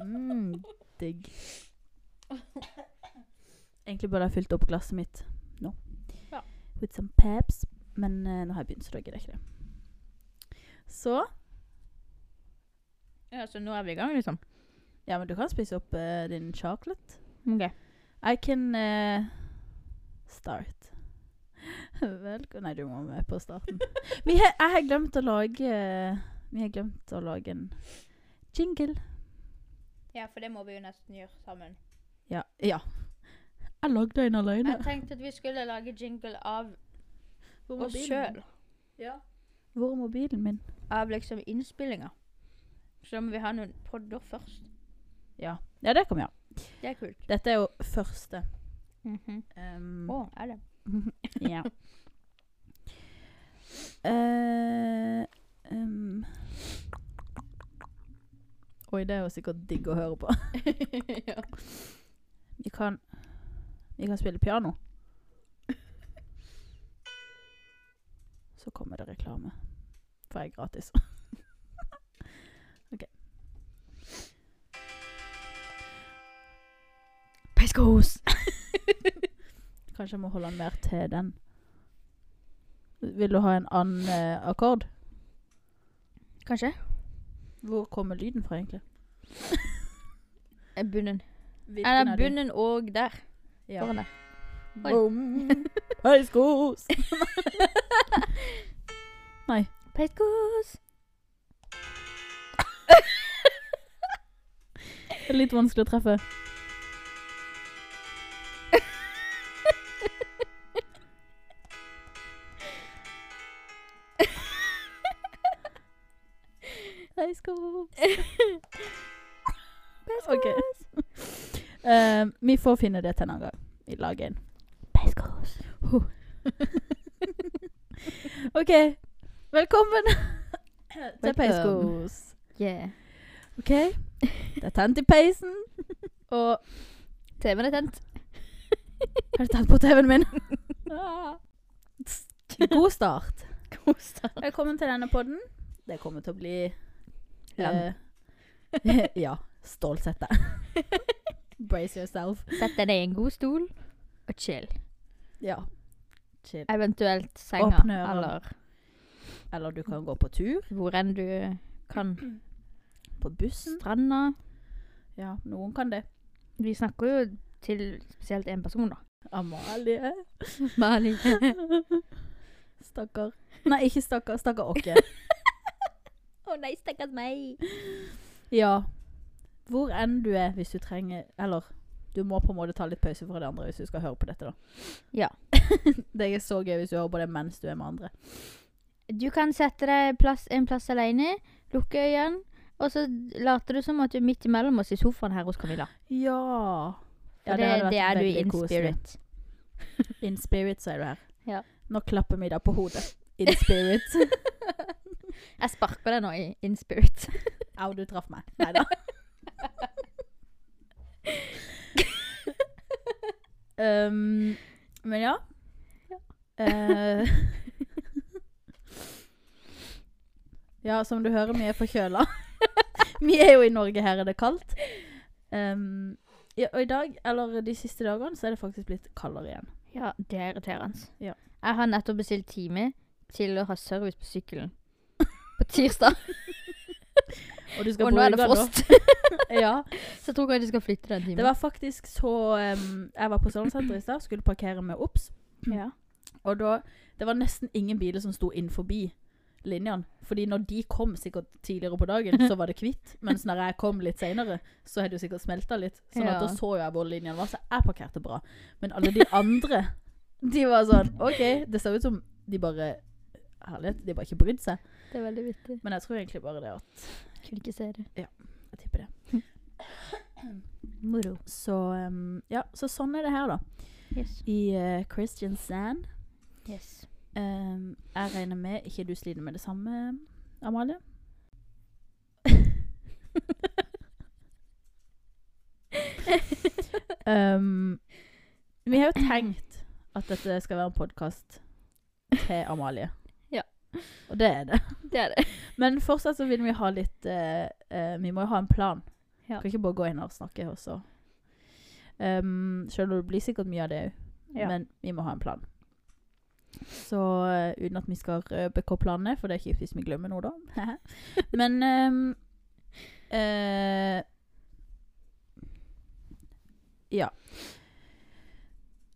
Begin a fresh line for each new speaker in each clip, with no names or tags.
Mm, digg. Egentlig burde jeg fylt opp glasset mitt nå.
Ja.
With some peps. Men eh, nå har jeg begynt, så da gidder jeg ikke det. Så
Ja, Så nå er vi i gang, liksom?
Ja, men du kan spise opp eh, din chocolate.
Ok.
I can eh, start. Velkommen Nei, du må med på starten. Vi har, jeg har glemt å lage eh, Vi har glemt å lage en jingle.
Ja, for det må vi jo nesten gjøre sammen.
Ja. ja. Jeg lagde en alene.
Jeg tenkte at vi skulle lage jingle av
Hvor er
oss
mobilen?
sjøl.
Hvor er mobilen min?
Av liksom innspillinga. Så da må vi ha noen podder først.
Ja. ja, det kommer, ja.
Det er kult.
Dette er jo første.
Å,
Um,
er det?
ja. Eh, um. Oi, det er jo sikkert digg å høre på.
ja.
Vi kan, vi kan spille piano. Så kommer det reklame. For jeg er gratis. ok. Peiskos! Kanskje jeg må holde den mer til den. Vil du ha en annen eh, akkord?
Kanskje?
Hvor kommer lyden fra, egentlig?
Eh, Bunnen. Eller bunnen og der.
Ja.
Foran der. Oi.
Bom! Peiskos!
Peiskos.
Det er Litt vanskelig å treffe. Peiskos. Ok. Eh, vi får finne det til en annen gang. Vi lager en.
Peiskos.
OK. Velkommen til
Welcome.
Peiskos.
Yeah.
OK. Det er tent i peisen. Og
TV-en er tent.
Har du tent på TV-en min?
Ah.
God start.
Kos deg.
Velkommen til denne podden. Det kommer til å bli
Lang.
eh, ja. Stolt sett deg. Brace yourself.
Sett deg ned i en god stol og chill.
Ja. Chill.
Eventuelt senga
Åpne ørene.
eller
Eller du kan gå på tur.
hvor enn du kan.
På bussen.
Stranda.
Mm, Ja, noen kan det.
Vi snakker jo til spesielt én person, da.
Amalie.
Mali.
Stakkar. Nei, ikke stakkar. Stakkar Åke.
Å nei, stakkars meg.
Ja. Hvor enn du er, hvis du trenger Eller du må på en måte ta litt pause fra de andre hvis du skal høre på dette, da.
Ja.
det er så gøy hvis du hører på det mens du er med andre.
Du kan sette deg plass, en plass alene, lukke øynene, og så later du som at du er midt imellom oss i sofaen her hos Camilla.
Ja.
For det, det, er du in spirit.
In spirit, så er du her.
Ja.
Nå klapper vi deg på hodet. In spirit.
Jeg sparker deg nå i in spirit.
Au, du traff meg. Nei da. um, men ja. Eh, ja, som du hører, vi er forkjøla. vi er jo i Norge, her er det kaldt. Um, ja, og i dag, eller de siste dagene, så er det faktisk blitt kaldere igjen.
Ja, det er irriterende.
Ja.
Jeg har nettopp bestilt time til å ha service på sykkelen. På tirsdag.
Og, du skal
Og nå
bruke
er det
den da.
frost.
ja.
Så jeg tror kanskje jeg skal flytte den timen.
Det var faktisk så um, Jeg var på Sørlandssenteret i stad, skulle parkere med OBS.
ja.
Og da, det var nesten ingen biler som sto inn forbi linjene. Fordi når de kom sikkert tidligere på dagen, så var det hvitt. Mens når jeg kom litt senere, så hadde det jo sikkert smelta litt. Sånn at
Ja.
da så jo jeg hvor linjene var, så jeg parkerte bra. Men alle de andre, de var sånn OK, det ser ut som de bare Herlighet, de bare ikke brydde seg.
det er veldig vittig.
Men jeg tror egentlig bare det at
Kunne ikke se det.
Jeg tipper det.
Moro.
Så um, ja, så sånn er det her, da.
Yes.
I eh, Kristiansand.
yes.
Ehm, jeg regner med ikke du sliter med det samme, Amalie. Ehm, vi har jo tenkt at dette skal være en podkast til Amalie.
Ja.
Og det er det.
Det er det.
Men fortsatt så vil vi ha litt eh, eh, Vi må jo ha en plan
Ja.
Kan ikke bare gå inn og snakke også. Um, selv om det blir sikkert mye av det òg,
Ja.
men vi må ha en plan. Så eh, uten at vi skal røpe hva planen er, for det er kjipt hvis vi glemmer noe, da. men ehm, eh, Ja.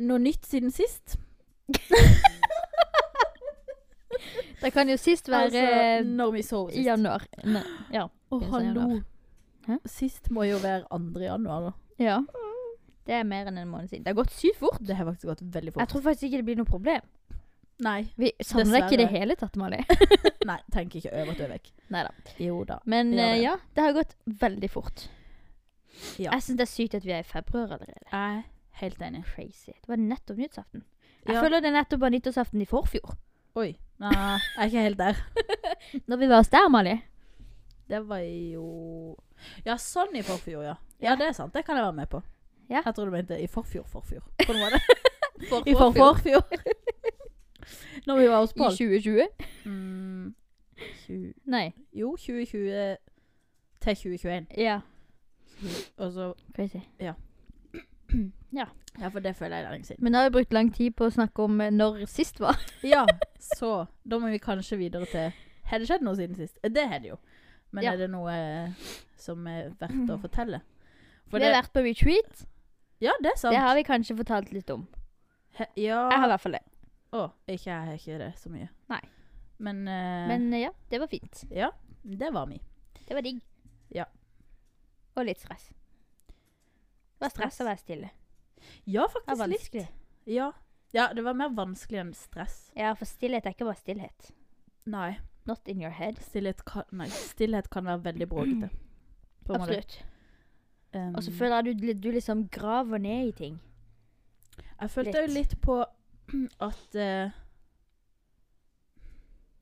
Noe nytt siden sist?
Det kan jo sist være eh,
altså, når vi sov
i
sist.
januar. Nei, ja.
Å,
begynnelsen av
hallo.
januar. Hæ?
Sist må jo være 2. januar, da.
ja. Det er mer enn en måned siden. Det har gått sykt fort.
Det har faktisk gått veldig
Jeg
fort.
tror faktisk ikke det blir noe problem.
Nei,
Vi savner deg ikke i det
Dessverre.
hele tatt, Mali.
nei, tenk ikke over at du er vekk.
Neida.
Jo da.
Men
Vi gjør
eh,
det.
ja, det har gått veldig fort.
Ja.
Jeg syns det er sykt at vi er i februar allerede.
Jeg er helt enig.
Crazy. Det var nettopp nyttårsaften. Jeg
Ja.
føler det nettopp var nyttårsaften i forfjor.
Oi. Nei, jeg er ikke helt der.
Når vi var hos deg, Mali.
Det var jo Ja, sånn i forfjor, ja. Ja, det er sant. Det kan jeg være med på.
Ja.
Jeg tror du mente i forfjor, forfjor. Hvordan var det? I forforfjor. Når vi var hos
I
Pål.
2020?
Mm, tju-
Nei.
jo, 2020 til 2021.
Ja.
Og så
Crazy.
Ja, for det føler jeg er lenge siden.
Men nå har vi brukt lang tid på å snakke om eh, når sist var.
Ja, så da må vi kanskje videre til Har det skjedd noe siden sist? Eh, Det har det jo. Men
Ja. Mm.
er det noe eh, som er verdt å fortelle? For
vi har vært på retreat.
Ja, det er sant.
Det har vi kanskje fortalt litt om.
He ja
Jeg har i hvert fall det.
Å, ikke jeg har ikke det så mye.
Nei.
Men, eh,
Men eh, ja, det var fint.
Ja, det var vi.
Det var digg.
Ja.
Og litt stress. Det var stress å være stille.
Ja,
Det var
faktisk litt.
vanskelig.
Ja. ja, det var mer vanskelig enn stress.
Ja, for stillhet er ikke bare stillhet.
Nei.
Not in your head.
Stillhet kan, nei, stillhet kan være veldig bråkete. på en måte.
Absolutt.
Um,
Og så føler jeg du, du liksom graver ned i ting.
Jeg følte jo litt på at eh,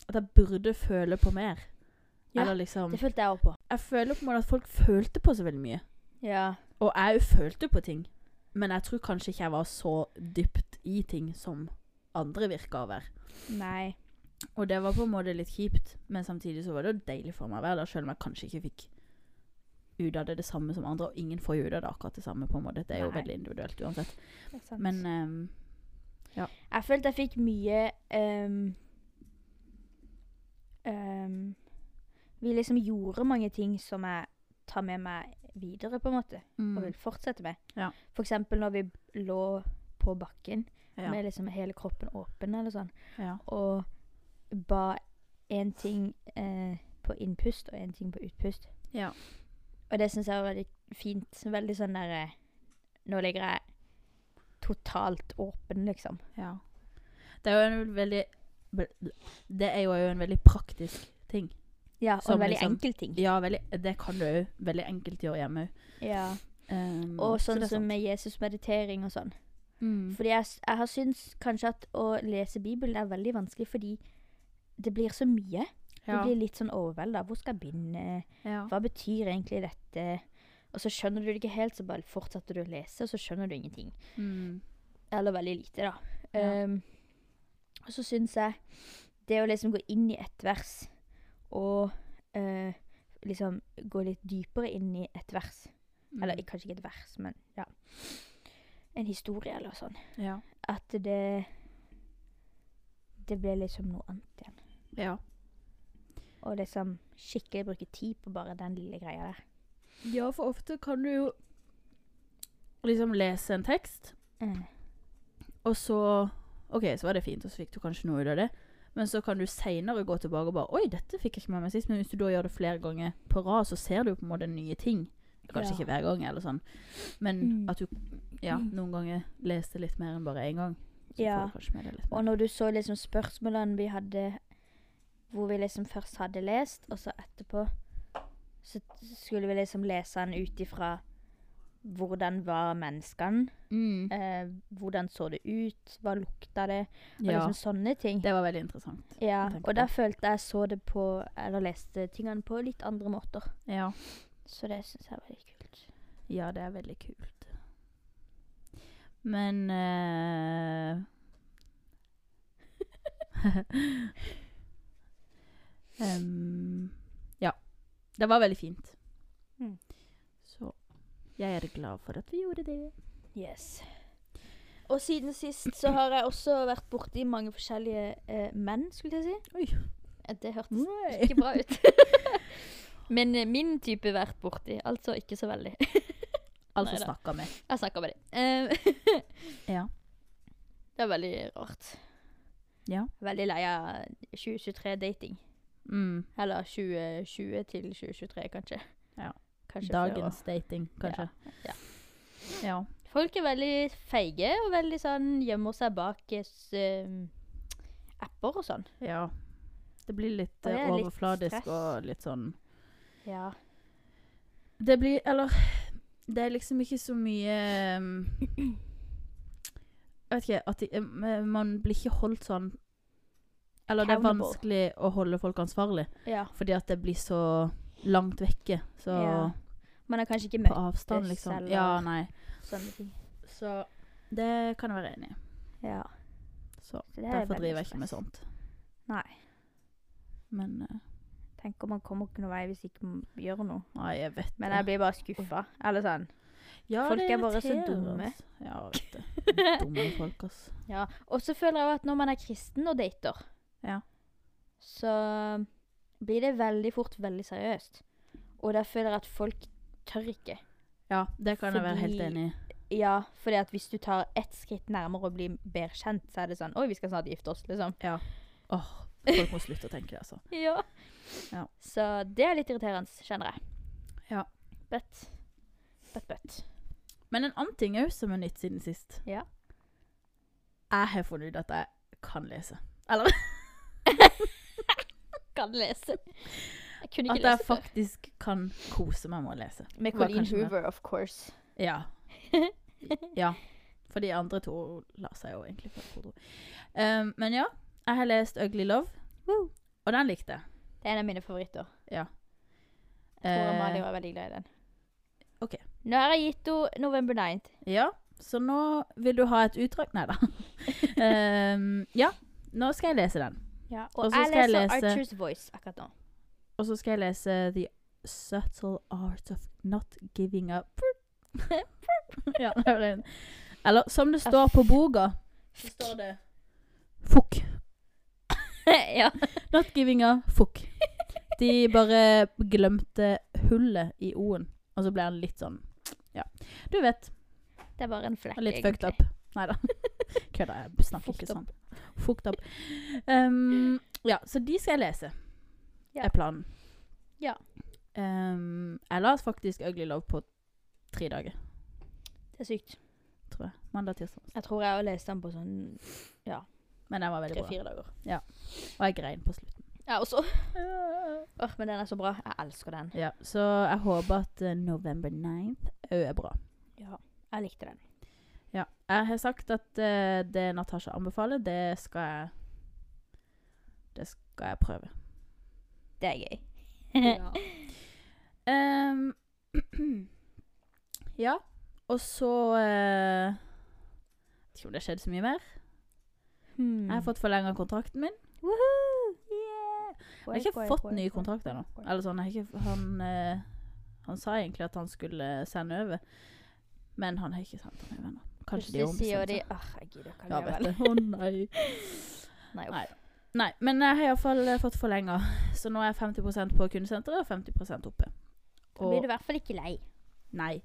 At jeg burde føle på mer.
Ja,
Eller liksom
Det følte jeg òg på.
Jeg føler på en måte at folk følte på så veldig mye.
Ja.
Og jeg òg følte på ting. Men jeg tror kanskje ikke jeg var så dypt i ting som andre virka å være.
Nei.
Og det var på en måte litt kjipt, men samtidig så var det jo deilig for meg å være der, selv om jeg kanskje ikke fikk ut av det det samme som andre. Og ingen får jo ut av det akkurat det samme, på en måte. Det er jo
Nei.
veldig individuelt uansett.
Det er sant.
Men ehm,
Jeg følte jeg fikk mye ehm, ehm, Vi liksom gjorde mange ting som jeg tar med meg videre, på en måte. Mm.
mm,
Og vil fortsette med.
Ja.
For eksempel når vi lå på bakken
ja,
med liksom hele kroppen åpen eller sånn,
ja.
og ba én ting eh, på innpust og én ting på utpust.
Ja.
Og det syns jeg var veldig fint. Veldig sånn derre Nå ligger jeg totalt åpen, liksom.
Ja. Det er jo en veldig Det er jo en veldig praktisk ting.
Ja, og
Som
en Sånn veldig
liksom-
enkel ting.
Ja, veldig, det kan du òg veldig enkelt gjøre hjemme òg.
Ja.
Um,
Og
så
sånn
det er
som
sant.
med Jesus-meditering og sånn.
mm.
Fordi jeg, s- jeg har syntes kanskje at å lese Bibelen er veldig vanskelig fordi det blir så mye.
ja.
Du blir litt sånn overvelda. Hvor skal jeg begynne?
ja.
Hva betyr egentlig dette? Og så skjønner du det ikke helt, så bare fortsetter du å lese, og så skjønner du ingenting.
Mm.
Eller veldig lite, da.
Ja.
Ehm, og så syns jeg det å liksom gå inn i ett vers og eh, liksom gå litt dypere inn i et vers Eller
Mm.
ikke- kanskje ikke et vers, men ja. En historie eller sånn.
Ja.
At det Det ble liksom noe annet igjen.
Ja.
Og liksom skikkelig bruke tid på bare den lille greia der.
ja, for ofte kan du jo liksom lese en tekst,
Mm.
og så OK, så var det fint, og så fikk du kanskje noe ut av det. Men så kan du seinere gå tilbake og bare Oi, dette fikk jeg ikke med meg sist. Men hvis du da gjør det flere ganger på rad, så ser du på en måte nye ting. Kanskje
Ja.
ikke hver gang, eller sånn. Men
Mm.
at du ja, noen ganger leste litt mer enn bare én gang. Så
Ja.
får du kanskje med deg litt
Og
mer.
når du så liksom spørsmålene vi hadde Hvor vi liksom først hadde lest, og så etterpå Så skulle vi liksom lese den ut ifra hvordan var menneskene?
Mm.
Eh, hvordan så det ut? Hva lukta det? Og
Ja,
liksom sånne ting.
det var veldig interessant.
Ja,
å tenke på.
og da følte jeg så det på Eller leste tingene på litt andre måter.
Ja.
Så det syns jeg var litt kult.
Ja, det er veldig kult. Men eh, em, Ja. Det var veldig fint.
Mm.
Så Jeg er glad for at vi gjorde det.
Yes. Og siden sist så har jeg også vært borti mange forskjellige eh, menn, skulle jeg si.
Oi. Mm.
Eh, Det hørtes
Nei.
ikke bra ut. Men eh, min type vært borti, altså ikke så veldig.
Altså
Neida.
snakka med.
Jeg snakker med dem. Eh,
Ja.
det er veldig rart.
Ja.
Veldig lei av 2023-dating.
Mm.
Eller 2020 til 2023, kanskje.
Ja.
Kanskje flere år.
Dagens dating, kanskje.
Ja,
Ja.
Folk er veldig feige og veldig sånn gjemmer seg bak eh, s- eh, apper og sånn.
ja. Det blir litt
Og det
eh,
er litt
overfladisk
stress.
og litt sånn
Ja.
Det blir Eller det er liksom ikke så mye um, Jeg vet ikke at de, um, eh, Man blir ikke holdt sånn Eller det er
Accountable.
vanskelig å holde folk ansvarlig,
ja.
fordi at det blir så langt vekke. Så
Ja. Man har kanskje ikke
på
møtt
avstand,
møttes,
liksom.
eller-
Ja, nei.
sånne ting.
Så det kan jeg være enig i.
Ja.
Så
Så det er
derfor
veldig
driver jeg ikke med
stress.
sånt.
Nei.
Men eh,
Tenker man kommer ikke noen vei hvis ikke man gjør noe.
Nei, jeg vet
Men jeg blir bare skuffa. Eller sånn.
Ja,
folk
det
er bare så
irriterer,
dumme.
ass. Ja, vet du. Dumme folk, ass.
Ja. Og så føler jeg jo at når man er kristen og dater,
Ja.
så blir det veldig fort veldig seriøst. Og da føler jeg at folk tør ikke.
Ja, det kan jeg være helt
Fordi-
enig i.
Ja, fordi at hvis du tar ett skritt nærmere og blir bedre kjent, så er det sånn Oi, vi skal snart gifte oss, liksom.
Åh, folk må slutte å tenke det, altså.
Ja.
Ja.
Så det er litt irriterende, kjenner jeg.
Ja.
But, but, but.
Men en annen ting òg som er nytt siden sist.
Ja.
Jeg har funnet ut at jeg kan lese.
kan lese. Jeg kunne
At jeg
ikke lese før.
faktisk kan kose meg med å lese.
Med
var
Colleen
kanskje mer.
Hoover, of course.
Ja. ja. For de andre to lar seg jo egentlig for hodet. Um, men ja, jeg har lest 'Ugly Love',
Woo.
og den likte jeg.
Det er en av mine favoritter. Jeg tror Amalie
Eh,
var veldig glad i den.
ok.
Nå har jeg gitt henne November 9th.
Eh, ja, så nå vil du ha et utdrag? Nei da. um, ja, nå skal jeg lese den.
Og
Og så
jeg
skal jeg
leser
lese-
Archer's Voice akkurat nå.
Og så skal jeg lese 'The Subtle Art of Not Giving Up'. ja, det var en. Eller som det står på boka Så står det Fuck.
ja.
Not giving a fuck. De bare glemte hullet i O-en, og så ble han litt sånn Ja. Du vet.
Det er bare en flekk,
Litt fucked up. Nei da. Kødda, jeg snakker ikke
Fucked
sånn. Fucked up. Um, ja, så de skal jeg lese,
Ja.
er planen.
Ja.
Um, jeg la faktisk Ugly Love på tre dager,
Det er sykt.
tror jeg. Mandag, tirsdag.
Jeg tror jeg har lest den på sånn
Men den var veldig bra.
tre-fire dager.
Og jeg grein på slutten.
Jeg også. Åh, men den er så bra. Jeg elsker den.
Ja, så jeg håper at eh, November 9th òg er bra.
Ja. Jeg likte den.
Ja. Jeg har sagt at eh, det Natasha anbefaler, det skal jeg Det skal jeg prøve.
Det er gøy.
Ehm, ja. Og så eh, Vet ikke om det har skjedd så mye mer.
Hmm.
Jeg har fått forlenga kontrakten min.
Woohoo! Yeah!
Jeg har ikke fått ny kontrakt ennå. Eller sånn, jeg har ikke, han, eh, han sa egentlig at han skulle eh, sende over, men han har ikke sendt den over ennå. Kanskje de
Plutselig sier
ombestemmer
de
seg.
Åh, jeg gidder ikke
Ja,
allikevel».
vet du. Å nei.
Nei,
Nei.
uff.
Nei, men eh, jeg har iallfall fått forlenga. Så nå er jeg 50 på kundesenteret og 50 oppe.
Da blir du i hvert fall ikke lei.
nei.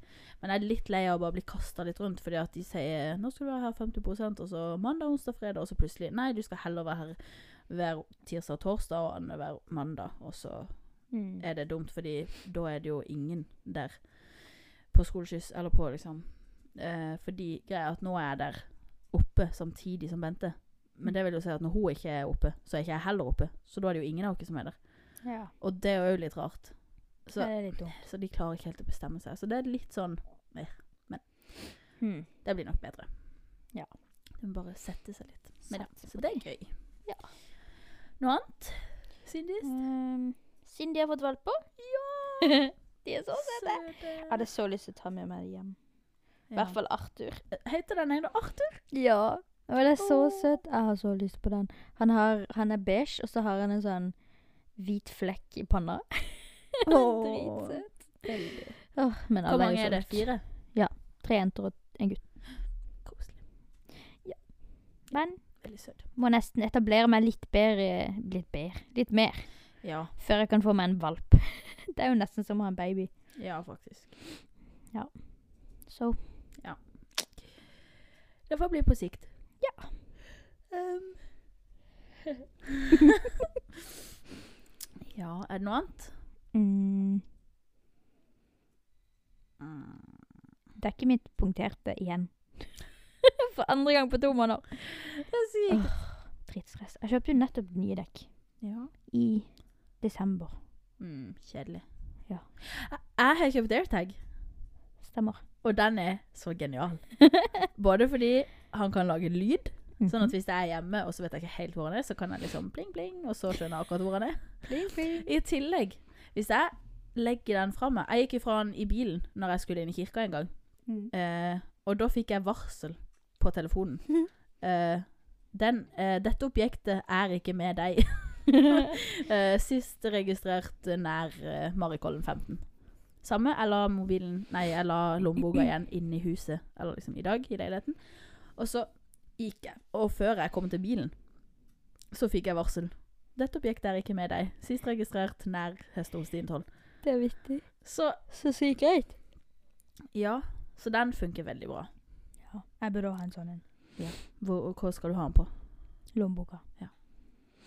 Men jeg er litt lei av å bare bli kasta litt rundt, fordi at de sier 'nå skal du være her 50 og så mandag, onsdag, fredag, og så plutselig 'nei, du skal heller være her hver tirsdag og torsdag og annenhver mandag', og så
Mm.
er det dumt, fordi da er det jo ingen der på skoleskyss eller på, liksom. Eh, fordi greia er at nå er jeg der oppe samtidig som Bente. Men det vil jo si at når hun ikke er oppe, så er ikke jeg heller oppe. Så da er det jo ingen av oss som er der.
Ja.
Og det er jo litt rart. Så,
Det er litt dumt.
så de klarer ikke helt å bestemme seg. Så det er litt sånn
Mm.
Det blir nok bedre.
Ja.
Du må bare sette seg litt. Men ja,
Sats
så
på
det er gøy.
Ja.
Noe annet siden sist?
Um, siden de har fått valper.
Ja!
De er så søte. Jeg hadde så lyst til å ta med meg hjem. I
Ja.
hvert fall Arthur.
Heter den ene Arthur?
Ja. Og det er så
Åh.
søtt. Jeg har så lyst på den. Han, har, han er beige, og så har han en sånn hvit flekk i panna.
Åh.
Dritsøt. Åh, men
Hvor
alle jo
mange
så
er det?
godt.
Fire?
Tre jenter og en gutt.
Koselig.
Men
Veldig søt.
må nesten etablere meg litt bedre Litt bedre? Litt mer.
Ja.
Før jeg kan få meg en valp. Det er jo nesten som å ha en baby.
Ja, faktisk.
Så
Det får bli på sikt.
Ja.
Ehm. ja, er det noe annet?
mm,
Mm.
Det er ikke mitt punkterte igjen. For andre gang på to måneder.
Det sier jeg ikke.
Dritstress. Jeg kjøpte jo nettopp nye dekk.
Ja.
I desember.
Mm, kjedelig.
Ja.
Jeg- Jeg har kjøpt AirTag,
Stemmer.
og den er så genial. Både fordi han kan lage lyd, sånn
Mhm.
at hvis jeg er hjemme og så vet jeg ikke helt hvor han er, så kan jeg liksom pling, pling, og så skjønner jeg akkurat hvor han er. I tillegg, hvis jeg legger den fra meg Jeg gikk ifra den i bilen når jeg skulle inn i kirka en gang.
Mm.
Eh, og da fikk jeg varsel på telefonen. Eh, den, eh, dette objektet er ikke med deg. eh, sist registrert nær eh, Marikollen 15. Samme, jeg la mobilen Nei, jeg la lommeboka igjen inne i huset. Eller liksom i dag, i leiligheten. Og så gikk jeg. Og før jeg kom til bilen, så fikk jeg varsel. Dette objektet er ikke med deg. Sist registrert nær Hestehostintollen.
Det er vittig.
Så
Så sykt greit.
ja, så den funker veldig bra.
Ja. Jeg burde ha en sånn en.
Hvor, hva skal du ha den på?
Lommeboka.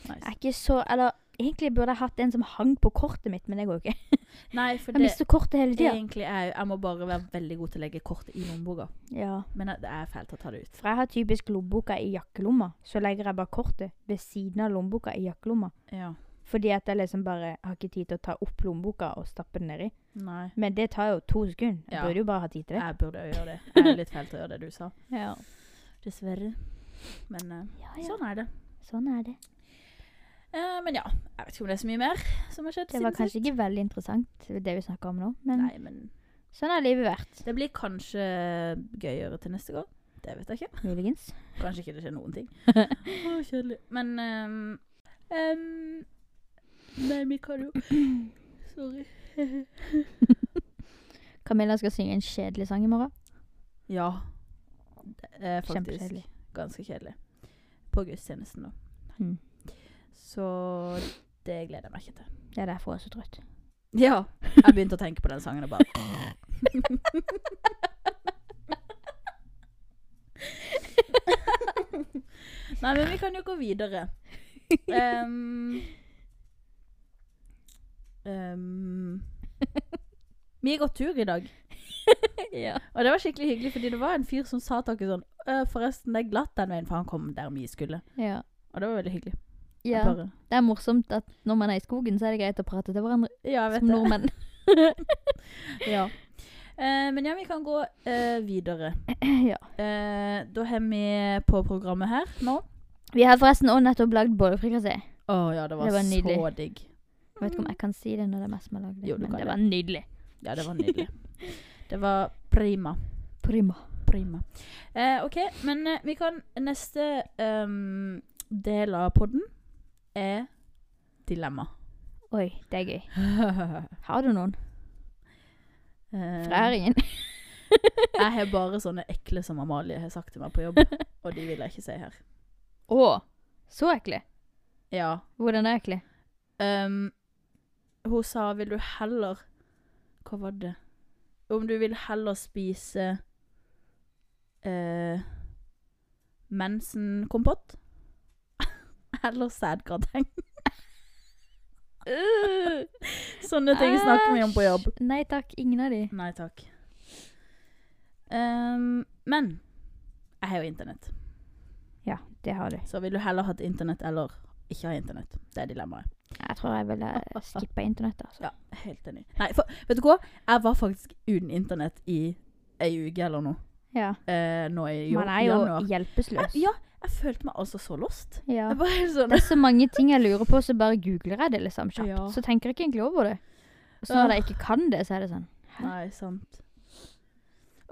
Jeg
Nice.
er ikke så Eller egentlig burde jeg hatt en som hang på kortet mitt, men det går jo ikke.
Nei, for
Jeg
det
mister kortet hele tida.
egentlig er jo Jeg må bare være veldig god til å legge kortet i lommeboka.
Ja.
Men det er fælt å ta det ut.
For jeg har typisk lommeboka i jakkelomma. Så legger jeg bare kortet ved siden av lommeboka i jakkelomma.
Ja.
Fordi at jeg liksom bare har ikke tid til å ta opp lommeboka og stappe den nedi.
Nei.
Men det tar jo to sekunder. Jeg
Ja.
burde jo bare ha tid til det.
Jeg burde jo gjøre det. Jeg er litt fæl til å gjøre det du sa.
Ja.
Dessverre. Men eh,
Ja,
sånn er det.
Sånn er det.
Eh, men ja. Jeg vet ikke om det er så mye mer som har skjedd
Det var
siden
kanskje ikke veldig interessant, det vi snakka om nå. Men
Nei, men
sånn har livet vært.
det blir kanskje gøyere til neste gang. Det vet jeg ikke.
Muligens.
Kanskje ikke det skjer noen ting. Å, kjedelig. Men ehm, ehm, Nei, vi kan jo Sorry.
Camilla skal synge en kjedelig sang i morgen.
Ja. Det er faktisk
Kjempekjedelig.
ganske kjedelig. På gudstjenesten, da.
Mm.
Så det gleder jeg meg ikke til.
Det er derfor jeg er så trøtt.
Ja. Jeg begynte å tenke på den sangen og bare Nei, men vi kan jo gå videre. Ehm, ehm, vi har gått tur i dag,
ja.
og det var skikkelig hyggelig. Fordi det var en fyr som sa til oss sånn «Øh, Forresten, det er glatt den veien, for han kom der vi skulle.
Ja.
Og det var veldig hyggelig. Jeg
ja.
bare-
Det er morsomt at når man er i skogen, så er det greit å prate til hverandre
ja jeg vet
som
det.
nordmenn.
Ja. Eh, men ja, vi kan gå eh, videre.
ja.
Eh, da har vi på programmet her nå.
Vi har forresten også nettopp lagd bollefrikassé.
Å ja, det var,
Det var
så
nydelig.
digg.
Jeg vet ikke om jeg kan si det når det er meg som har lagd det,
Jo, du
men
kan
det
det.
var nydelig.
Ja, det var nydelig. Det var prima.
Prima.
Prima. Eh, OK, men eh, vi kan Neste ehm, del av podden er dilemma.
Oi, det er gøy.
eh,
Har du noen? For jeg har
jeg
ingen.
har bare sånne ekle som Amalie har sagt til meg på jobb, og de vil jeg ikke si her.
Å, så ekle.
Ja.
Hvordan er ekle?
Ehm, hun sa vil du heller Hva var det? Om du vil heller spise eh, mensenkompott eller sædgrateng. Sånne ting snakker vi om på jobb.
Æsj. Nei takk, ingen av de.
Nei takk. Ehm, men jeg har jo internett.
Ja, det har du.
Så vil du heller ha et internett eller ikke ha internett? Det er dilemmaet.
Jeg tror jeg ville skippa internett, altså.
Ja, helt enig. Nei, for, vet du hva? Jeg var faktisk uten internett i ei uke eller noe.
Ja.
Eh, nå i jo,
Man er jo
januar.
hjelpeløs.
Jeg, ja, jeg følte meg altså så lost.
Ja.
Jeg var helt sånn
Det er så mange ting jeg lurer på, så bare googler jeg det liksom kjapt.
Ja. Ah.
Så tenker jeg ikke egentlig over det. Og så når jeg ikke kan det, så er det sånn. Hæ?
Nei, sant.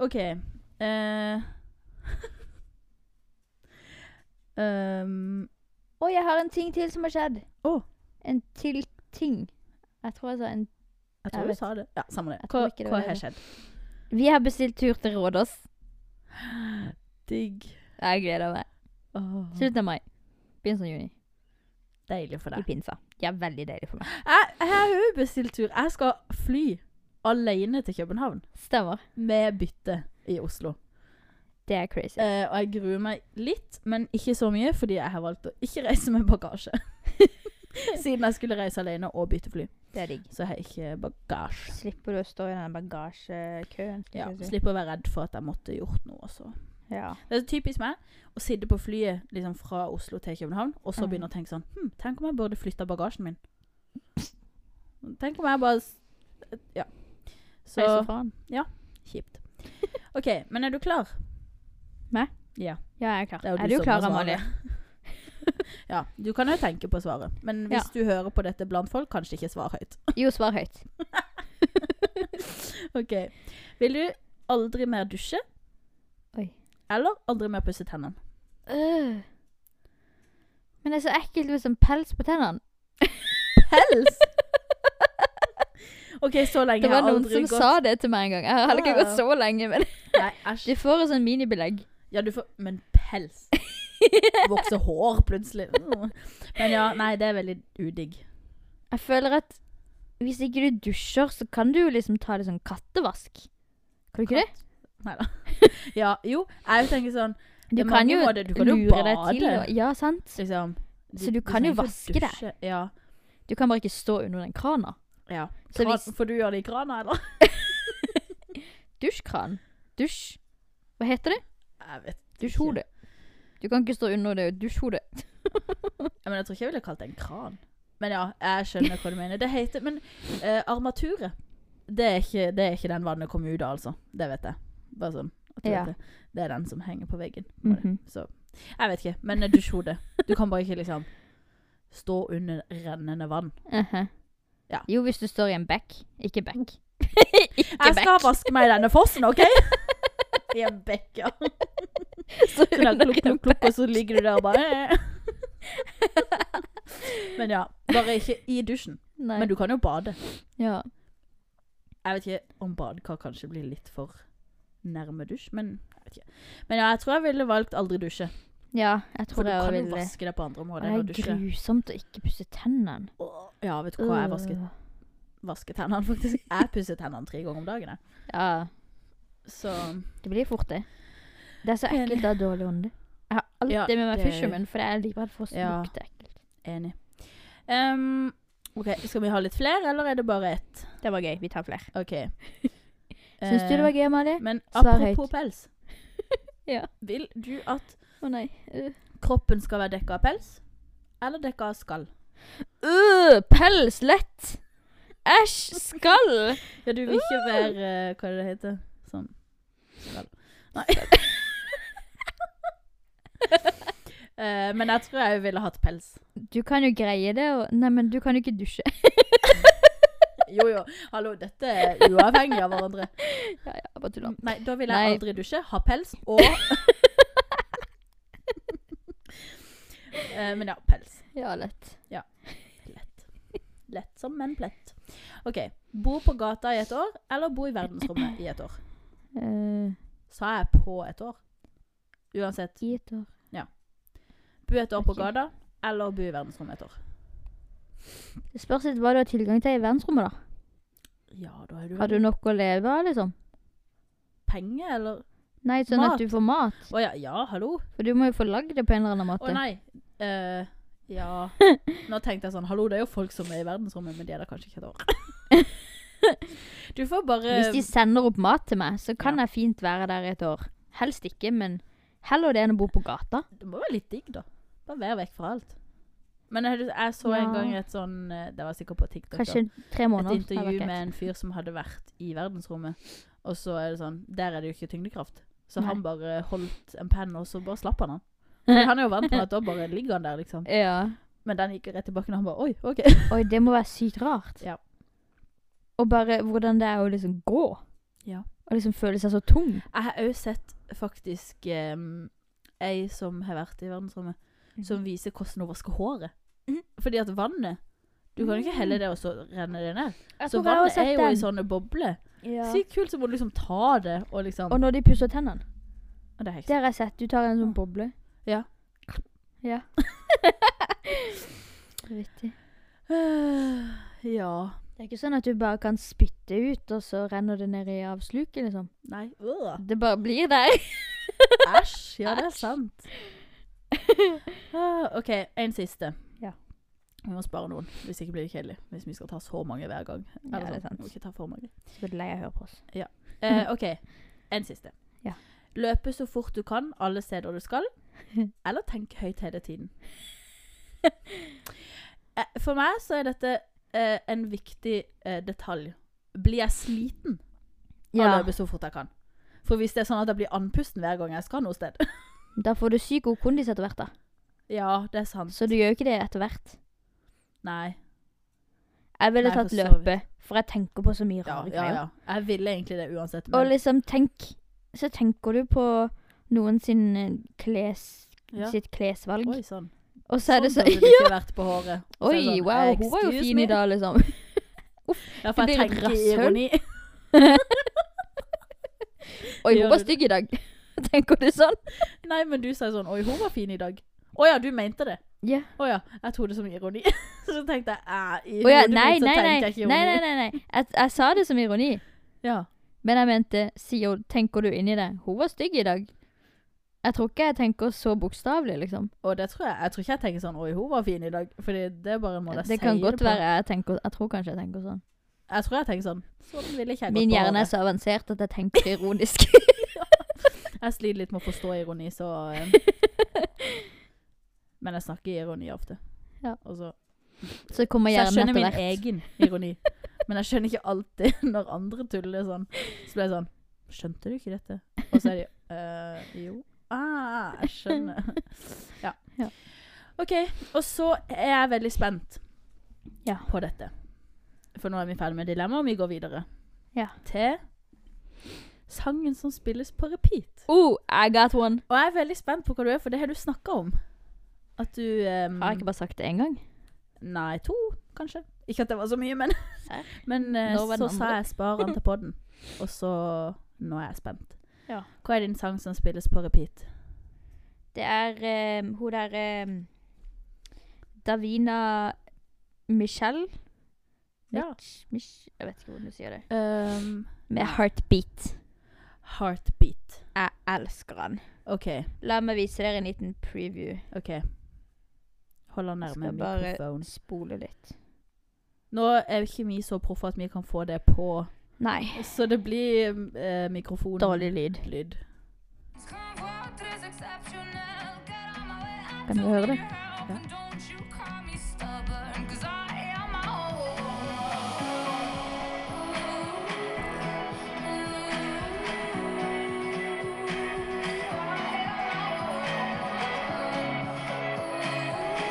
OK. Eh. um,
Å, jeg har en ting til som har skjedd.
Å.
En til ting. Jeg tror jeg sa en
Jeg
Jeg
tror du
vet.
sa det. Ja, samme det. Hva,
Jeg tror ikke det
hva
var
har
det.
skjedd?
Vi har bestilt tur til Rådås.
Digg.
Jeg gleder meg.
Åh,
Slutten av mai. Begynnelsen av juni.
Deilig for
I
deg.
pinsa. Ja, veldig deilig for meg.
Jeg, jeg har jo bestilt tur. Jeg skal fly alene til København
Stemmer.
med bytte i Oslo.
Det er crazy.
Eh, og jeg gruer meg litt, men ikke så mye, fordi jeg har valgt å ikke reise med bagasje. Siden jeg skulle reise alene og bytte fly,
Det er digg.
så jeg har ikke bagasje.
Slipper du å stå i den bagasjekøen.
Ja, Slipper å være redd for at jeg måtte gjort noe. Så.
ja.
Det er så typisk meg å sitte på flyet liksom, fra Oslo til København, og så
Mm.
begynne å tenke sånn hm, Tenk om jeg burde flytta bagasjen min? Tenk om jeg bare s- Ja. Så
Reise faen.
kjipt. OK, men er du klar?
Ja, jeg er klar.
Det er jo
Er,
du
du
som
klar,
må svare.
Amalie?
Ja, du kan jo tenke på svaret. Men hvis du hører på dette blant folk, kanskje ikke svar høyt.
Jo, svar høyt.
Ok. Vil du aldri mer dusje?
Oi.
Eller aldri mer pusse tennene?
Øh. Men det er så ekkelt med sånn pels på tennene.
Pels? OK, så lenge
Det var
har jeg
noen
aldri
som
gått
sa det til meg en gang. Jeg har heller ikke
Ja.
gått så lenge, men
Nei, æsj.
du får et sånn minibelegg.
Ja, du får Men pels? Vokser hår plutselig? Mm. Men ja, nei, det er veldig udigg.
Jeg føler at hvis ikke du dusjer, så kan du jo liksom ta det sånn kattevask. Kan du ikke det?
Nei da. Ja, jo, jeg tenker sånn
Du
Det er
kan
mange
jo
måter. Du kan jo
lure deg til.
bade.
å- Ja, sant?
liksom
Så du kan
trenger
jo
ikke å
vaske det.
dusje. Ja.
Du kan bare ikke stå under den krana.
ja.
Så
Kran,
hvis-
Får du gjøre det i krana, eller?
Dusjkran. Dusj. Hva heter det?
Jeg vet
Dusjhode. Du kan ikke stå under det dusjhodet.
Ja, men jeg tror ikke jeg ville kalt det en kran. Men ja, jeg skjønner hva du mener. Det heter Men eh, armaturet, det er, ikke, det er ikke den vannet kommer ut av, altså. Det vet jeg. Bare sånn. At du
Ja.
vet det. det er den som henger på veggen.
Mhm.
Så jeg vet ikke. Men eh, dusjhode. Du kan bare ikke liksom stå under rennende vann.
Aha.
Ja.
Jo, hvis du står i en bekk. Ikke bekk.
Jeg skal
bekk.
vaske meg i denne fossen, OK? I en bekk, ja.
Så
Sånn der
under
klukk,
en
klukk, klukk, og så ligger du der og bare eh. Men ja. Bare ikke i dusjen.
Nei.
Men du kan jo bade.
Ja.
Jeg vet ikke om badekar kanskje blir litt for nærme dusj, men jeg vet ikke. Men ja, jeg tror jeg ville valgt aldri dusje.
ja, jeg
For
tror
du
jeg også
kan jo
ville det.
vaske deg på andre
Og Det
måter enn å
er
dusje.
grusomt å ikke pusse tennene.
Åh, Ja, vet du hva, jeg vasket,
Øh.
vasket tennene faktisk. Jeg pusset tennene tre ganger om dagen, jeg.
Ja,
Så
det blir fort det. Det er så
Enig.
ekkelt å ha dårlig ånde. Jeg har alltid
Ja,
med meg
det-
Fisherman, for jeg er livredd for å
Ja.
lukte ekkelt.
enig. Ehm, ok, skal vi ha litt flere, eller er det bare ett?
Det var gøy. Vi tar flere.
Ok. Eh,
Syns du det var gøy, Amalie?
Men
Svar
apropos pels.
Ja.
Vil du at
Å nei. Øh.
kroppen skal være dekket av pels, eller dekket av skall?
Øh, pels! Lett! Æsj! Skall!
Ja, du vil ikke være eh, Hva er det det heter? Sånn Skal. Nei. Eh, men jeg tror jeg ville hatt pels.
Du kan jo greie det. Og... Nei, men du kan jo ikke dusje.
Jo, jo. Hallo, dette er uavhengig av hverandre.
Ja, ja, bare tulla.
Nei, da vil jeg
Nei.
aldri dusje, ha pels og Eh, Men ja, pels.
Ja, lett.
Lett. Lett som en plett. OK. Bo på gata i et år, eller bo i verdensrommet i et år?
Eh,
Sa jeg på et år? Uansett.
I et år.
Bo et år på
Ok.
gata, eller bo i verdensrommet et år.
Det spørs litt hva du har tilgang til i verdensrommet, da.
Ja, da har du
Har du nok å leve av, liksom?
penger, eller
Nei, sånn
Mat.
at du får mat.
Å ja, ja, hallo?
For du må jo få lagd det på en eller annen
Å
måte.
nei. Eh, ja Nå tenkte jeg sånn Hallo, det er jo folk som er i verdensrommet, men de er der kanskje ikke et år. Du får bare
Hvis de sender opp mat til meg, så kan
Ja.
jeg fint være der i et år. Helst ikke, men heller det enn å bo på gata.
Det må være litt digg, da. Bare være vekk fra alt. Men jeg, jeg så
Ja.
en gang et sånn eh, Det var sikkert på TikTok. da.
Kanskje tre
et
måneder. hadde vært
intervju
greit.
med en fyr som hadde vært i verdensrommet. Og så er det sånn Der er det jo ikke tyngdekraft. Så
Nei.
han bare holdt en penn, og så bare slapp han han. Fordi han er jo vant med at da bare ligger han der, liksom.
Ja.
Men den gikk jo rett i bakken, og han bare Oi, OK.
Oi, det må være sykt rart.
Ja.
Og bare hvordan det er å liksom gå.
Ja.
Og liksom føle seg så tung.
Jeg har òg sett faktisk eh, ei
Mhm.
Mhm. som har vært i verdensrommet, som viser hvordan hun vasker håret. Fordi at vannet Du Du kan ikke helle det, og så renner det ned.
Mm. Jeg
Så
tror jeg har
vannet
sett
er jo
den.
i sånne bobler.
ja.
Sykt kult, så må du liksom ta det, og liksom
sånn Og når de pusser tennene.
Og det er
Det
hektisk.
har jeg sett. Du tar en sånn boble.
Ja.
Ja. Vittig.
Ja.
Det er ikke sånn at du bare kan spytte ut, og så renner det ned i avsluket, liksom.
Nei. øh.
Det bare blir der.
Æsj. Ja, det er sant. Ah, OK, en siste.
Ja.
Vi må spare noen, hvis ikke blir det kjedelig. Hvis vi skal ta så mange hver gang.
Ja,
Eller
det
sånn,
er sant.
vi må ikke ta for mange.
Så blir det lei av å høre på oss.
Eh, OK, en siste.
Ja.
Løpe så fort du kan alle steder du skal, eller tenk høyt hele tiden. Eh, For meg så er dette eh, en viktig eh, detalj. Blir jeg sliten av å løpe så fort jeg kan? For hvis det er sånn at jeg blir andpusten hver gang jeg skal noe sted
Da får du sykt god kondis etter hvert, da.
Ja, det er sant.
Så du gjør jo ikke det etter hvert.
Nei.
Jeg ville
Nei,
tatt
for så
løpe, for jeg tenker på så mye
Ja,
rare
ja,
greier.
ja. Jeg ville egentlig det uansett.
Og
Men,
liksom, tenk Så tenker du på noen sin eh, kles,
ja.
sitt klesvalg,
Oi sånn, sann.
og så er det så
burde det ikke vært på håret. Så er det
Oi,
sånn,
wow, hun var jo
excuse
fin
me.
i dag, liksom.
Ja, for
Det
jeg tenker i
blir et rasshøl.
ironi.
Oi,
Gjør
hun var
du det?
stygg i dag. Tenker du sånn?
Nei, men du sa sånn Oi, hun var fin i dag. Å ja, du mente det.
Ja.
Å ja. Jeg tok det som ironi. så tenkte jeg «Ah, æ, i
Å ja,
hodet
nei,
mitt så
nei, nei.
tenkte jeg ikke
nei,
ironi.
nei, nei, nei. Jeg, jeg sa det som ironi,
Ja.
men jeg mente sier, Tenker du inni det? Hun var stygg i dag. Jeg tror ikke jeg tenker så bokstavelig, liksom.
Og det tror jeg Jeg tror ikke jeg tenker sånn Oi, hun var fin i dag. Fordi det er bare en måte jeg
Det kan
sier
godt
på.
være jeg tenker Jeg tror kanskje jeg tenker sånn.
Jeg tror jeg tenker sånn. Sånn ville ikke jeg
Min
gått på
hjerne er
håret.
så avansert at jeg tenker ironisk.
Jeg sliter litt med å forstå ironi, så eh, Men jeg snakker i ironi ofte.
Ja.
Og så
Så kommer
Så jeg
hjernen
skjønner
etter
min
hvert.
egen ironi. Men jeg skjønner ikke alltid når andre tuller sånn. Så blir jeg sånn Skjønte du ikke dette? Og så er de «Øh, Jo. Ah, jeg skjønner. Ja.
Ja.
OK. Og så er jeg veldig spent
Ja.
på dette. For nå er vi ferdig med dilemmaet, og vi går videre
Ja.
til sangen som spilles på repeat.
Oh, I got one.
Og jeg er veldig spent på hva du er, for det har du snakka om. At du ehm,
Har jeg ikke bare sagt det én gang?
Nei, to, kanskje. Ikke at det var så mye, men
Serr?
Men eh,
Nå var den
så sa
andre.
jeg 'spar den til podden', og så Nå er jeg spent.
Ja.
Hva er din sang som spilles på repeat?
Det er eh, hun der eh, Davina Michelle.
Ja.
Mich, Mich, jeg vet ikke hvordan du sier det.
Um,
Med heartbeat.
'Heartbeat'.
Jeg elsker han.
OK.
La meg vise dere en liten preview.
ok Hold den nærme
Skal bare-
mikrofonen.
Spole litt.
Nå er jo ikke vi så proffe at vi kan få det på,
Nei.
så det blir uh, mikrofon
Dårlig lyd.
lyd.
Kan du høre det?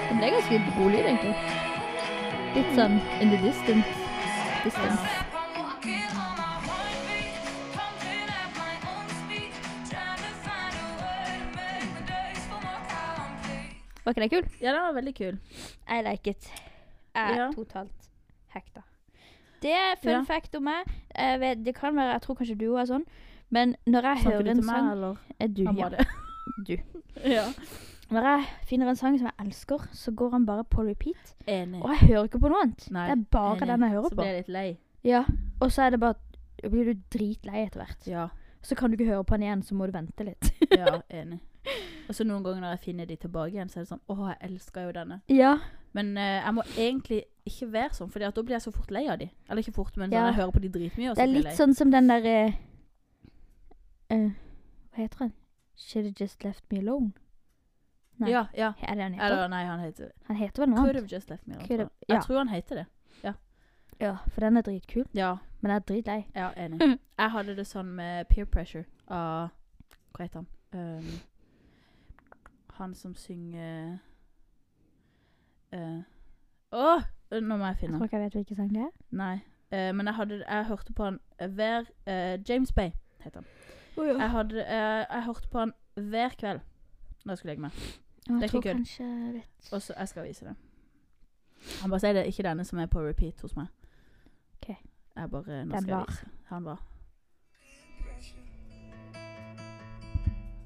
Det ble ganske god lyd, egentlig. Litt sånn in the distance. distance. Var ikke det kul?
Ja, den var veldig kul.
I like it. Jeg er
Ja.
totalt hekta. Det er fun
Ja.
fact om meg. Jeg, vet, det kan være, jeg tror kanskje du også er sånn, men når jeg
Snakker
hører
du
en
til meg,
sang
eller?
Eh, du,
Han var
ja.
det.
Du.
ja.
Når jeg finner en sang som jeg elsker, så går han bare på repeat.
Enig.
Og jeg hører ikke på noe annet.
Nei,
det er bare den jeg hører
Så
på.
ble jeg litt lei.
Ja. Og så er det bare da blir du dritlei etter hvert.
Ja.
Så kan du ikke høre på den igjen, så må du vente litt.
Ja, enig. Og så noen ganger når jeg finner de tilbake igjen, så er det sånn Å, jeg elsker jo denne.
ja.
Men eh, jeg må egentlig ikke være sånn, for da blir jeg så fort lei av de. Eller ikke fort, men sånn,
Ja.
jeg hører på de dritmye, og
Det
så
er
blir jeg
litt
lei.
sånn som den derre Hva heter den? Should have just left me alone. nei.
Ja, ja.
Er det han heter?
Eller nei, han heter
Han heter vel noe
Could
annet?
have just left me alone.
Could
tror
have-
Jeg Jeg
ja.
tror han heter det.
Ja, for den er dritkul.
Ja,
Men jeg er dritlei.
ja enig. Jeg hadde det sånn med peer pressure av Hva heter han? Um, han som synger eh, Å! nå må jeg
Jeg
finne han.
tror ikke jeg vet hvilken sang det er.
Nei. Eh, men jeg, hadde, jeg hørte på han hver eh, James Bay heter han.
Jeg,
Jeg, hadde, eh, jeg hørte på han hver kveld når jeg skulle legge meg.
jeg
det er ikke
tror
kødd.
kanskje jeg vet.
Og så, jeg skal vise det. Han bare sier det er ikke denne som er på repeat hos meg.
Ok.
Jeg bare, nå
Den
skal jeg
var.
vise. Han var.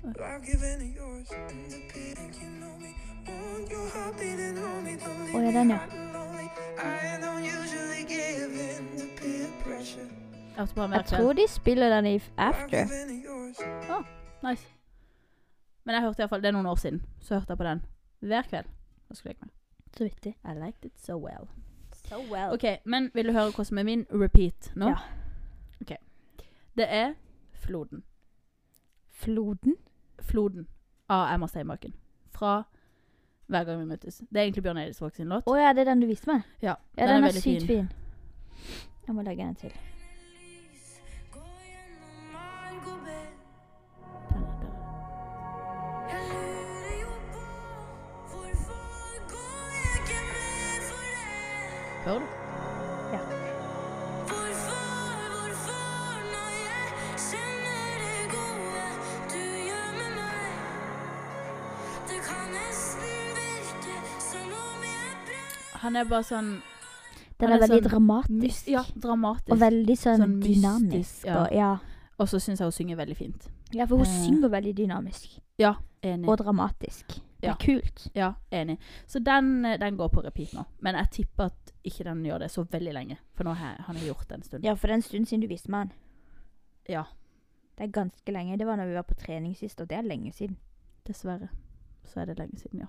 I've given it yours independent, you know me. Want your heart beating only, don't leave
Oh, yeah,
me
then, yeah.
out and lonely. I don't usually give in to peer pressure.
Jeg måtte bare
Jeg
merke
tror de spiller den i f-
I've
After.
given it yours.
Nice. Men jeg hørte i hvert fall, det er noen år siden, så hørte jeg på den. Hver kveld. Da skulle jeg med.
Så vidt de.
I liked it so well.
So well.
Ok, men vil du høre hva som er min repeat nå?
Ja.
Ok. Det er Floden.
Floden?
Floden av Emma Steinbakken. Fra Hver gang vi møtes. Det er egentlig Bjørn Eidsvåg sin låt.
Å ja, det er den du viste meg?
Ja,
Ja,
den
den,
er
er,
veldig
sykt
fin.
fin. Jeg må legge den til.
Gå gjennom marg og bed.
Den er bra.
Jeg lurer jo på hvorfor går jeg ikke med for det?
Hører du?
Hvorfor, hvorfor, når jeg kjenner det gode du gjør med meg? Det kan nesten virke som om jeg prøver
Han er bare sånn
Den
Han
er,
er
veldig
sånn
dramatisk.
ja, dramatisk.
Og veldig sånn,
Sånn mystisk,
dynamisk.
ja.
Og, ja.
Og så syns jeg hun synger veldig fint.
ja, for hun
Eh.
synger veldig dynamisk.
Enig.
Og dramatisk. Det
Ja.
er kult.
Ja, enig. Så den, eh, den går på repeat nå. Men jeg tipper at ikke den gjør det så veldig lenge. For nå har han har gjort det en stund.
Ja, for det er en stund siden du viste meg den.
Ja.
Det er ganske lenge. Det var når vi var på trening sist, og det er lenge siden.
Dessverre. Så er det lenge siden, ja.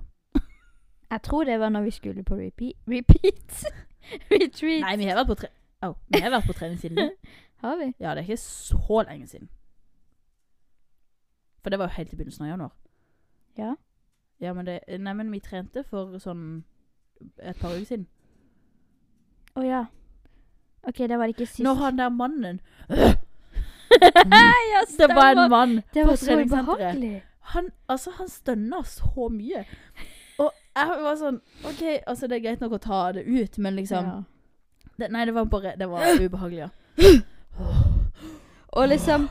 Jeg tror det var når vi skulle på repeat. Repeat? Retreat.
Nei, vi har vært på, tre Au, vi har vært på trening siden det.
Har vi?
Ja, det er ikke så lenge siden. For det var jo helt i begynnelsen av januar.
Ja.
Ja, men, det, nei, men vi trente for sånn et par uker siden.
Å ja. OK, det var det ikke sist.
Når han der mannen
ja,
Det var en
stemmer.
mann
Det var
på
så
treningssenteret.
ubehagelig.
Han, altså, han stønna så mye. Og jeg var sånn OK, altså, det er greit nok å ta det ut, men liksom
Ja.
det, Nei, det var bare Det var ubehagelig, ja.
Og liksom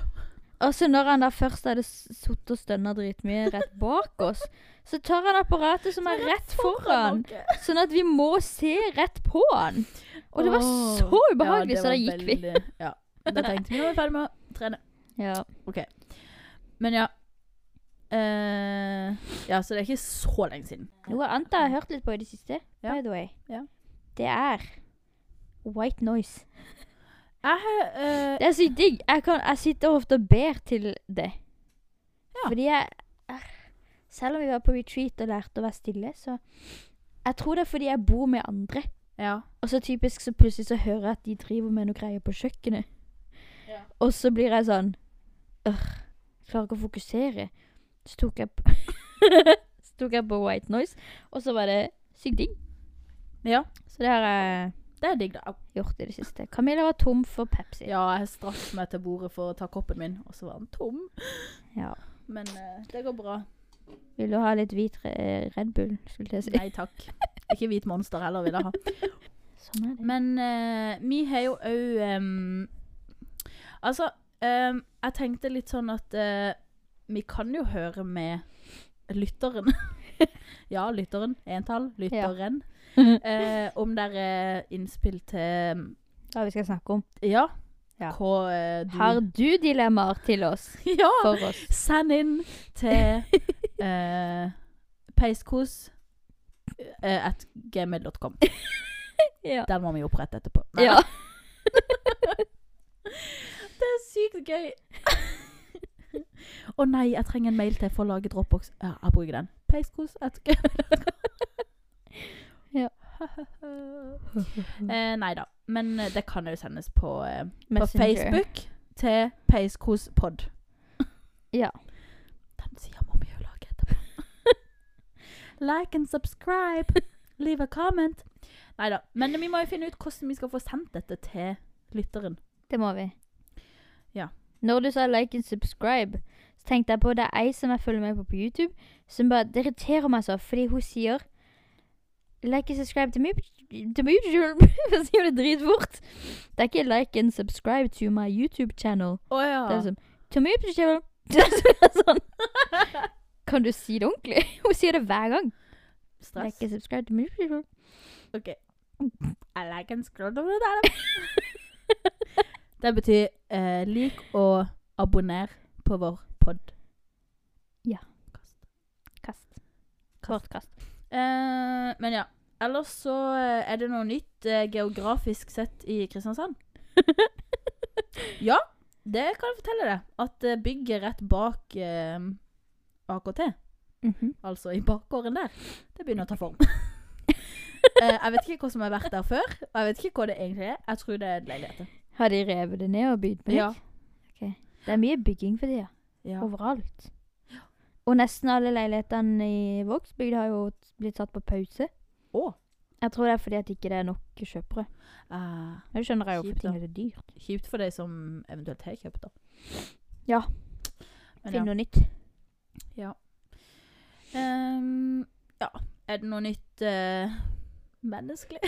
Altså Når han da først hadde s- sittet og stønna dritmye rett bak oss, så tar han apparatet som er rett foran, sånn at vi må se rett på han. Og det var
Åh.
så ubehagelig, så da gikk vi.
vi. Ja. Da tenkte vi nå er vi ferdig med å trene.
Ja.
Men ja. Eh, ja, så det er ikke så lenge siden.
Noe annet jeg har hørt litt på i det siste,
Ja.
by the way,
Ja.
det er White noise.
Jeg har eh,
Det er sykt digg. Jeg, kan, jeg sitter ofte og ber til det.
Ja.
Fordi jeg er- Selv om vi var på retreat og lærte å være stille, så Jeg tror det er fordi jeg bor med andre.
Ja.
Og så typisk så plutselig så hører jeg at de driver med noe greier på kjøkkenet.
Ja.
Og så blir jeg sånn Ør, klarer ikke å fokusere. Så tok jeg på Så tok jeg på White Noise, og så var det sykt digg.
ja.
Så det har jeg
Det er digg, da. Au.
gjort i det siste. Camilla var tom for Pepsi.
Ja, jeg strakk meg til bordet for å ta koppen min, og så var den tom.
Ja.
Men eh, det går bra.
Vil du ha litt hvit re- Red Bull, skulle jeg si.
Nei takk. Ikke hvit monster heller vil jeg ha.
Sånn er det.
Men eh, vi har jo òg em, Altså, em, jeg tenkte litt sånn at eh, vi kan jo høre med lytteren. ja, lytteren. Entall. Lytteren. Eh, om det er innspill til
Hva vi skal snakke om.
Ja.
Ja.
Hva eh, du
Har du dilemmaer til oss?
Ja!
For oss.
Send inn til eh, peiskos eh, at gmail.com.
Ja.
Den må vi opprette etterpå. Nei,
ja.
Det er sykt gøy. Å nei, jeg trenger en mail til for å lage dropbox. Ja, jeg bruker den. Peiskos at
Ja.
eh, nei da. Men eh, det kan jo sendes på, eh, på
Messenger.
Facebook til peiskospod.
Ja.
Den sier må vi jo lage etterpå. like and subscribe. Leave a comment. Nei da. Men vi må jo finne ut hvordan vi skal få sendt dette til lytteren.
Det må vi.
Ja.
Når du sa like and subscribe, så tenkte jeg på det er ei som jeg følger med på på YouTube, som bare Det irriterer meg så, fordi hun sier Like and subscribe to me To my YouTube Hun sier det dritfort. Det er ikke like and subscribe to my YouTube channel.
Å ja.
Det er liksom To my YouTube channel Det er sånn. Kan du si det ordentlig? Hun sier det hver gang.
Stress.
Like and subscribe to my YouTube channel.
Ok. Jeg legger en skrådd over det der. Det betyr eh, lik og abonner på vår pod.
Ja.
Kast.
Kast. Kort kast.
Eh, men ja. Ellers så eh, er det noe nytt eh, geografisk sett i Kristiansand. ja, det kan jeg fortelle deg. At eh, bygget rett bak eh, AKT,
Mhm.
altså i bakgården der, det begynner å ta form. Eh, jeg vet ikke hva som har vært der før, og jeg vet ikke hva det egentlig er. Jeg tror det er leiligheter.
Har de revet det ned og bygd på nytt? Det er mye bygging for tida.
Ja.
Overalt. Og nesten alle leilighetene i Vågsbygd har jo blitt satt på pause.
Å.
Jeg tror det er fordi at ikke det er nok kjøpere.
Eh,
Men du skjønner jeg jo
Kjipt,
for ting er så dyrt.
kjipt for de som eventuelt har kjøpt, da.
Ja.
Men
Finn
ja.
noe nytt.
Ehm, ja. Er det noe nytt eh, menneskelig?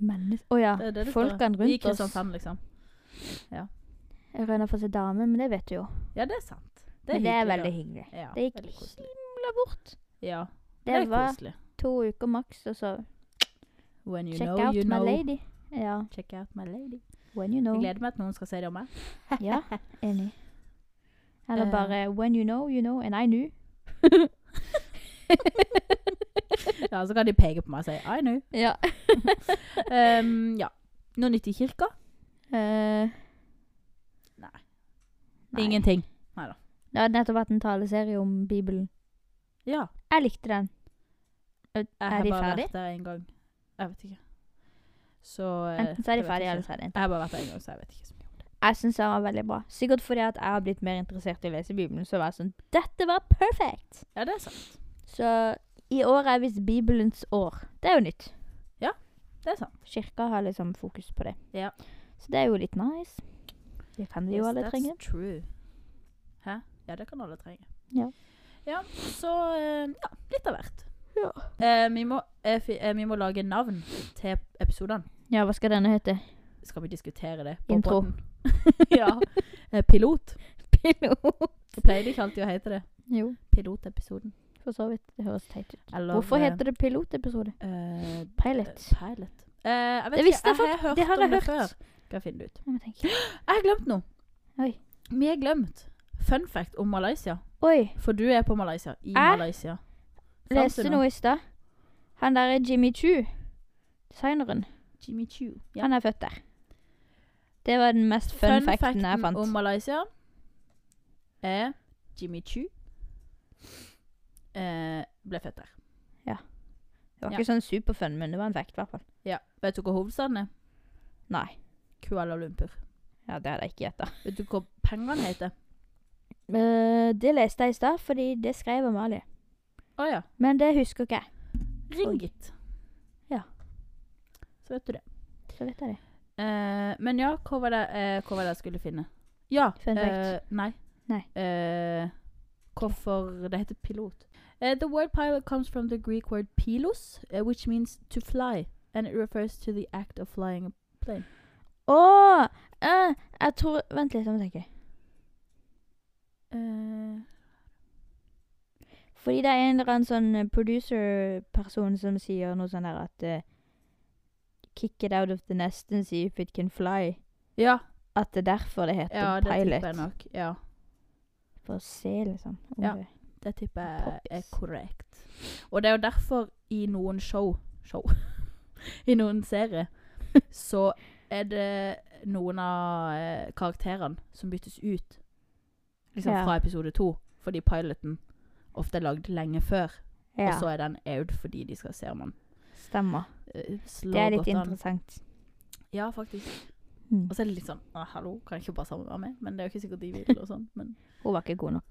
Mennesker Å ja.
Det er det det står.
Folkene
I
rundt oss.
Kristiansand, liksom.
Jeg rønner for seg dame, men det vet du jo.
Ja, det er sant.
Det men det er
hyggelig,
veldig hyggelig.
da. Ja,
Det gikk
veldig koselig.
himla fort.
Ja, det
Det
er
var
koselig.
to uker maks, og så
When you
check
know,
out
you
my
know.
lady. Ja.
Check out my lady.
When you know.
Jeg gleder meg til noen skal si det om meg.
Ja, enig. Eller
Eh.
bare When you know, you know, and I knew.
Ja, Så kan de peke på meg og si I know.
Ja.
Ehm, ja. Noe nytt i kirka?
Eh,
Nei.
nei.
Ingenting.
Det har nettopp vært en taleserie om Bibelen.
Ja.
Jeg likte den. Er
Jeg har
de
bare
ferdige?
vært der en gang. Jeg vet ikke. Så eh,
Enten så er
jeg
de
vet
ferdige,
ikke.
eller så er de ikke.
Jeg har bare vært der en gang, så jeg vet ikke så mye om det.
Jeg syns den var veldig bra. Sikkert fordi at jeg har blitt mer interessert i å lese Bibelen. Så var jeg sånn Dette var perfekt!
Ja, det er sant.
Så i år er visst Bibelens år. Det er jo nytt.
Det er sant.
Kirka har liksom fokus på det.
Ja.
Så det er jo litt nice. Det kan vi jo
Yes,
alle
that's
trenge.
True. Hæ? Ja, det kan alle trenge.
Ja.
Ja, så eh, ja, litt av hvert.
Ja.
Eh, vi, må, eh, fi- eh, vi må lage navn til episodene.
Ja, hva skal denne hete?
Skal vi diskutere det?
Intro.
podden? ja. Eh, pilot.
Pilot.
Det pleier ikke alltid å hete det.
Jo,
Pilotepisoden.
for så vidt. Det høres teit ut.
Eller
Hvorfor heter det pilotepisode?
eh,
Pilot.
Pilot. Eh, jeg vet
Det visste
ikke, jeg
jeg
har hørt
Det har
om
jeg
det
hørt.
før. Skal jeg finne det ut.
Jeg må tenke.
Jeg har glemt noe.
Oi.
Vi har glemt fun fact om Malaysia.
Oi,
For du er på Malaysia. I
Hæ?
Malaysia. Fram til
leste
nå.
noe i stad. Han der er Jimmy Chu. Designeren.
Jimmy Chu. Ja.
Han er født der. Det var den mest fun,
Fun
facten jeg fant.
om Malaysia er Jimmy Chu eh, ble født der.
Det var
ja.
ikke sånn superfun, men det var en fact, i hvert fall.
Ja. Vet du hva hovedstaden er?
Nei.
Kuala Lumpur.
Ja, det hadde jeg ikke gjetta.
Vet du hva pengene heter?
Eh, det leste jeg i stad, fordi det skrev Amalie.
Å ja.
Men det husker ikke jeg.
Ringgit.
Ja.
Så vet du det.
Så vet jeg det.
Eh, men ja, hva var det, eh, hva var det jeg skulle finne? Ja.
Fun
eh, nei.
Nei.
Eh, hvorfor Det heter pilot. Eh, the word pilot comes from the Greek word pilos, eh, which means to fly. And it refers to the act of flying a plane.
Å! eh, jeg tror Vent litt, jeg må tenke.
Eh,
Fordi det er en eller annen sånn producer-person som sier noe sånn her at eh, Kick it out of the nest and see if it can fly.
ja,
At det er derfor det heter
ja, det tipper jeg
pilot.
nok. Ja,
For å se, liksom. om
Ja.
det-
det tipper jeg
Poppis.
er korrekt. Og det er jo derfor i noen show Show? I noen serier så er det noen av eh, karakterene som byttes ut liksom
Ja.
fra episode to, fordi piloten ofte er lagd lenge før. Og
Ja,
så er den out fordi de skal se om han
stemmer.
eh, slår
Det er litt
godt an.
interessant.
Ja, faktisk.
Mm.
Og så er det litt sånn «Å, Hallo, kan jeg ikke bare sammen være med? Men det er jo ikke sikkert de vil. og sånn. Men
Hun var ikke god nok.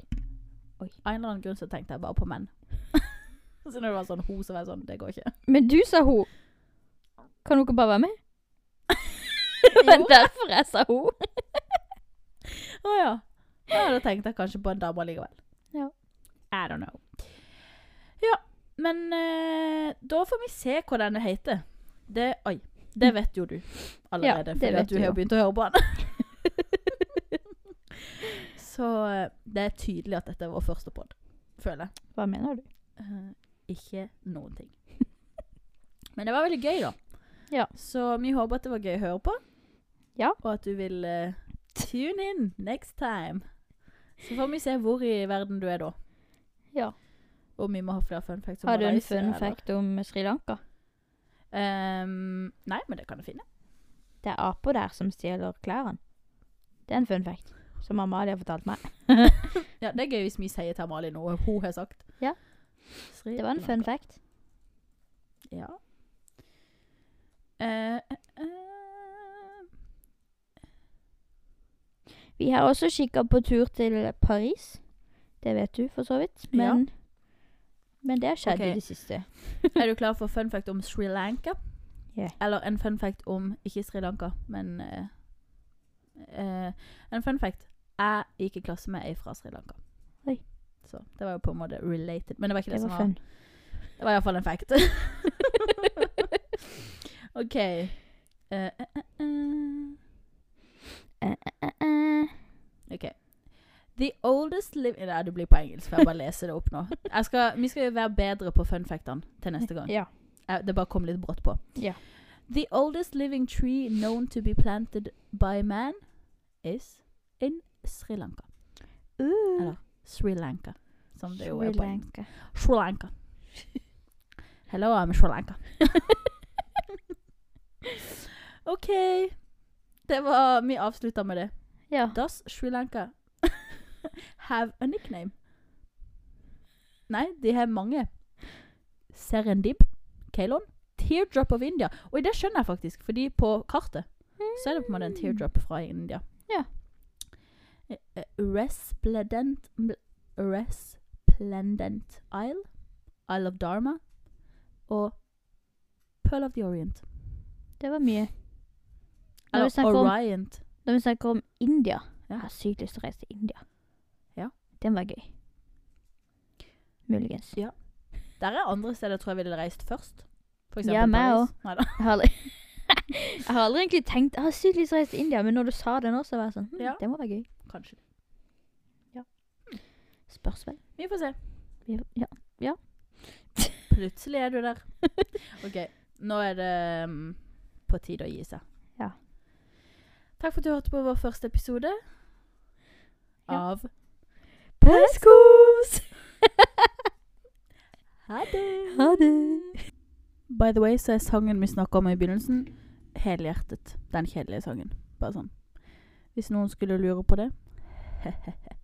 av en eller annen grunn så tenkte jeg bare på menn. så når det var sånn hun, så var jeg sånn Det går ikke.
Men du sa hun. Kan hun ikke bare være med?
Jo.
Men derfor jeg sa hun.
Å ja. ja. Da tenkte jeg kanskje på en dame likevel.
Ja.
I don't know. Ja, men eh, da får vi se hva denne heter. Det Oi. Det vet jo du allerede,
Mm. Ja, det
fordi
vet
at du
jeg
har jo
jo.
begynt å høre på den. Så eh, det er tydelig at dette er vår første pod, føler jeg.
Hva mener du?
Eh, ikke noen ting. Men det var veldig gøy, da.
Ja.
Så vi håper at det var gøy å høre på.
Ja.
Og at du vil eh, tune in next time. Så får vi se hvor i verden du er da.
Ja.
Om vi må ha flere fun facts. om
Har du en
Malaysia,
fun
eller-
fact om Sri Lanka?
Ehm, nei, men det kan du finne.
Det er aper der som stjeler klærne. Det er en fun fact som Amalie har fortalt meg.
Ja, Det er gøy hvis vi sier til Amalie noe hun har sagt.
Ja.
Sri
Det var en
Lanka.
fun fact.
Ja. Eh, eh, eh.
Vi har også kikka på tur til Paris. Det vet du for så vidt. Men, men det har skjedd
Ok.
i det siste.
Er du klar for fun fact om Sri Lanka?
Ja.
Eller en fun fact om ikke Sri Lanka, men eh, eh, En fun fact. Jeg gikk i klasse med ei fra Sri Lanka.
Oi.
Så det var jo på en måte related. Men det var ikke det,
Det
som
var
var
fun.
Det var iallfall en fact. OK. Eh, eh, eh, eh.
Eh, eh, eh.
OK. The oldest living Nei, det blir på engelsk, for jeg bare leser det opp nå. Jeg skal, vi skal jo være bedre på fun factene til neste gang.
Ja.
Eh, Det bare kom litt brått på.
Ja.
The oldest living tree known to be planted by man is in Sri Lanka. Eller Sri Lanka, som det jo er
Uh, Sri
på engelsk.
Lanka.
Sri Lanka. Hello, I'm Sri Lanka. OK. Det var Vi avslutta med det.
Ja.
Does Sri Lanka have a nickname? Nei, de har mange. Serendib, Keilon, Teardrop of India. Og det skjønner jeg faktisk, fordi på kartet så er det på en måte en teardrop fra India.
Ja.
Eh, eh, Resplendent bl- Resplendent Isle, Isle of Dharma og Pearl of the Orient.
Det var mye. Når vi
Eller
snakker om-
Orient.
Når vi snakker om India
Ja.
Jeg har sykt lyst til å reise til India.
Ja.
Den var gøy. Muligens.
Ja. Der er andre steder jeg tror jeg ville reist først. For
Ja,
eksempel
meg
Paris.
også.
Neida.
Jeg har aldri, jeg har aldri egentlig tenkt Jeg har sykt lyst til å reise til India, men når du sa det nå, så var jeg sånn hm,
Ja.
Det må være gøy.
Kanskje.
Spørs vel.
Vi får se.
Vi- Ja.
Plutselig er du der. OK. Nå er det mm, på tide å gi seg.
Ja.
Takk for at du hørte på vår første episode
Ja.
av
Peskos!
Ha det!
Ha det.
By the way, så er sangen vi snakka om i begynnelsen, helhjertet. Den kjedelige sangen. Bare sånn. Hvis noen skulle lure på det.